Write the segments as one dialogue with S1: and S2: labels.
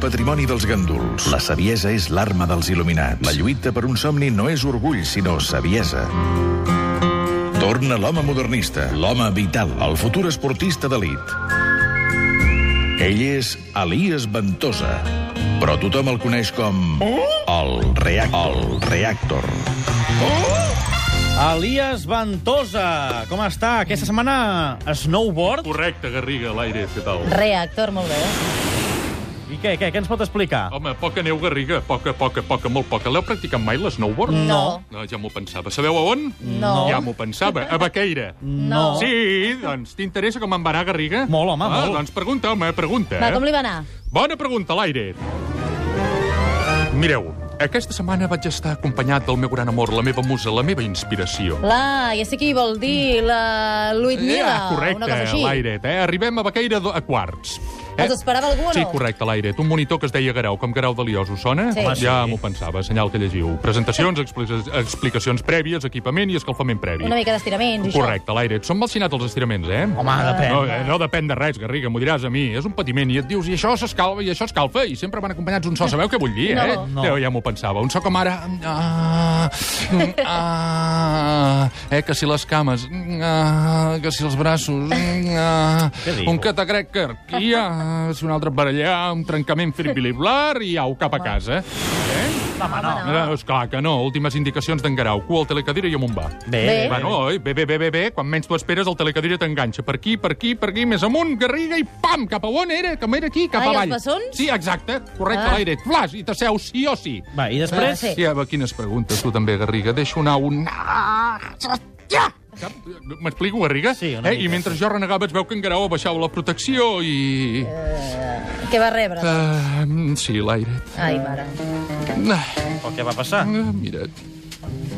S1: patrimoni dels gandúls. La saviesa és l'arma dels il·luminats. La lluita per un somni no és orgull, sinó saviesa. Torna l'home modernista, l'home vital, el futur esportista d'elit. Ell és Elias Ventosa, però tothom el coneix com... El Reactor. El Reactor.
S2: Elias Ventosa, com està? Aquesta setmana snowboard?
S3: Correcte, Garriga, l'aire, què tal?
S4: Reactor, molt bé. eh?
S2: I què, què, què ens pot explicar?
S3: Home, poca neu, Garriga, poca, poca, poca, molt poca. L'heu practicat mai, l'snowboard?
S4: No.
S3: No, ja m'ho pensava. Sabeu a on?
S4: Mm. No.
S3: Ja m'ho pensava, a Baqueira.
S4: No.
S3: Sí, doncs t'interessa com em va anar, Garriga?
S2: Molt, home,
S3: ah,
S2: molt.
S3: Doncs pregunta, home, pregunta.
S4: Va,
S3: eh?
S4: com li va anar?
S3: Bona pregunta, l'aire. Mireu, aquesta setmana vaig estar acompanyat del meu gran amor, la meva musa, la meva inspiració.
S4: La, ja sé qui vol dir, la Luitmila,
S3: Ah, correcte,
S4: una cosa així.
S3: l'airet, eh? Arribem a Baqueira do- a quarts. Eh?
S4: Els esperava algú o
S3: Sí,
S4: no?
S3: correcte, l'airet. Un monitor que es deia Garau, com Garau de Liós, us sona?
S4: Sí. Home, sí.
S3: Ja m'ho pensava, senyal que llegiu. Presentacions, expli explicacions prèvies, equipament i escalfament previ.
S4: Una mica d'estiraments i
S3: Correcte, l'airet. Són malsinats els estiraments, eh?
S2: Home, depèn.
S3: No, eh, no depèn de res, Garriga, m'ho diràs a mi. És un patiment i et dius, i això s'escalfa, i això escalfa, i sempre van acompanyats d'un so. Sabeu què vull dir, eh?
S4: No.
S2: No.
S3: Déu, ja m'ho pensava. Un so com ara... Ah, mm, ah, eh, que si les cames... mm, Ah, que si els braços... mm, Ah,
S2: Què diu?
S3: un catacrèquer. I ah, si un altre per allà, un trencament fibrilar i au, cap a casa. Eh?
S2: Home, no.
S3: No. Esclar que no. Últimes indicacions d'en Garau. Cua al telecadira i amunt va.
S2: Bé,
S4: Bé.
S2: bé, bé.
S3: Bueno, oi? Bé, bé, bé, bé, bé. Quan menys t'ho esperes, el telecadira t'enganxa. Per aquí, per aquí, per aquí, més amunt, Garriga, i pam! Cap a on era? Com era aquí? Cap
S4: Ai, els
S3: avall.
S4: bessons?
S3: Sí, exacte. Correcte,
S4: Ah.
S3: ah. l'aire. Flas, i t'asseus sí o sí.
S2: Va, i després?
S4: Sí.
S3: Sí, va, quines preguntes, tu també, Garriga. Deixo anar un... Ja! Cap- M'explico, Garriga?
S2: Sí, una
S3: eh?
S2: mica,
S3: I mentre jo renegava es veu que en Garau abaixava la protecció i...
S4: Què va rebre?
S3: Uh, sí, l'aire.
S4: Ai, mare.
S3: Ah,
S2: O què va passar?
S3: mira,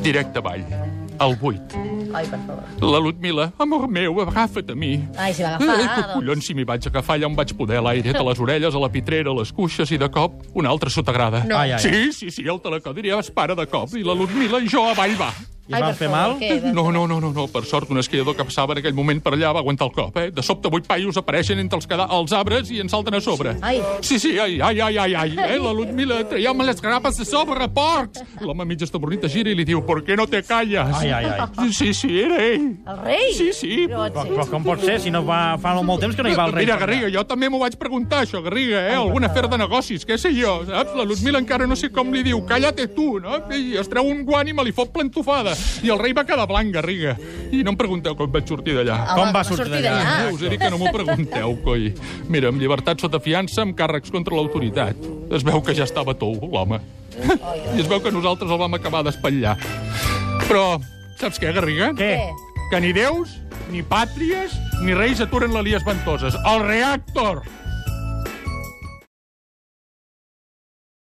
S3: directe avall, al buit.
S4: Ai, per favor.
S3: La Ludmila, amor meu, agafa't a mi.
S4: Ai, s'hi va agafar,
S3: Eh, que
S4: doncs.
S3: collons, si m'hi vaig agafar, allà on vaig poder, a l'aire, a les orelles, a la pitrera, a les cuixes, i de cop, una altra sotagrada.
S2: No. Ai, ai.
S3: Sí, sí, sí, el telecadria es para de cop, i la Ludmila i jo avall va.
S2: I
S4: Ai,
S2: van
S4: per
S2: fer
S4: favor,
S2: mal?
S4: què? va-
S3: No, no, no, no, no, per sort, un esquiador que passava en aquell moment per allà va aguantar el cop, eh? De sobte, vuit paios apareixen entre els, cada... els arbres i ens salten a sobre.
S4: Ai.
S3: Sí, sí, ai, ai, ai, ai, ai. Eh? La Ludmila, traieu-me les grapes de sobre, porcs! L'home mig estamornit es gira i li diu, ¿por qué no te callas?
S2: Ai, ai, ai.
S3: Sí, sí, era ell.
S4: El rei?
S3: Sí, sí.
S4: No pot
S2: Però,
S4: ser.
S2: però com pot ser, si no va, fa molt temps que no hi va el rei?
S3: Mira, Garriga, jo també m'ho vaig preguntar, això, Garriga, eh? Algun afer de negocis, què sé jo, saps? La Ludmila encara no sé com li diu, calla-te tu, no? I es treu un guant i me li fot plantofada. I el rei va quedar blanc, Garriga. I no em pregunteu com vaig sortir d'allà.
S4: Home,
S2: Com va
S4: com
S2: sortir
S4: sortir
S2: d'allà?
S4: d'allà?
S3: Eh, us he dit que no m'ho pregunteu, coi. Mira, amb llibertat sota fiança, amb càrrecs contra l'autoritat. Es veu que ja estava tou, l'home. I es veu que nosaltres el vam acabar d'espatllar. Però, saps què, Garriga?
S2: Què?
S3: que ni déus, ni pàtries, ni reis aturen l'Elias Ventoses. El reactor!